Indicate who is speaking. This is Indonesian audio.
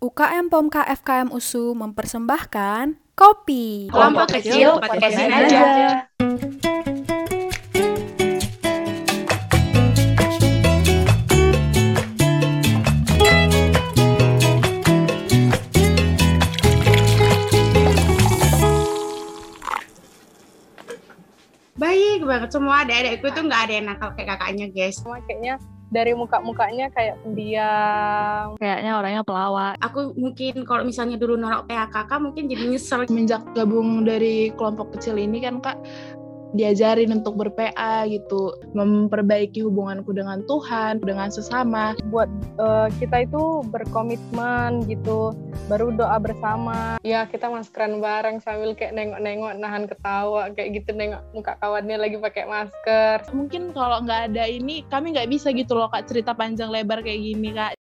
Speaker 1: UKM POMKA FKM USU mempersembahkan Kopi.
Speaker 2: Kelompok kecil podcastin aja. Baik banget semua adik-adikku tuh nggak ada yang nakal kayak kakaknya guys.
Speaker 3: semua kayaknya dari muka-mukanya kayak pendiam.
Speaker 4: kayaknya orangnya pelawak.
Speaker 2: Aku mungkin kalau misalnya dulu nolak PHKK mungkin jadi nyesel.
Speaker 5: semenjak gabung dari kelompok kecil ini kan kak diajarin untuk berPA gitu memperbaiki hubunganku dengan Tuhan dengan sesama
Speaker 3: Buat eh, kita itu berkomitmen gitu, baru doa bersama. Ya kita maskeran bareng sambil kayak nengok-nengok, nahan ketawa kayak gitu nengok muka kawannya lagi pakai masker.
Speaker 5: mungkin kalau nggak ada ini kami nggak bisa gitu loh kak cerita panjang lebar kayak gini kak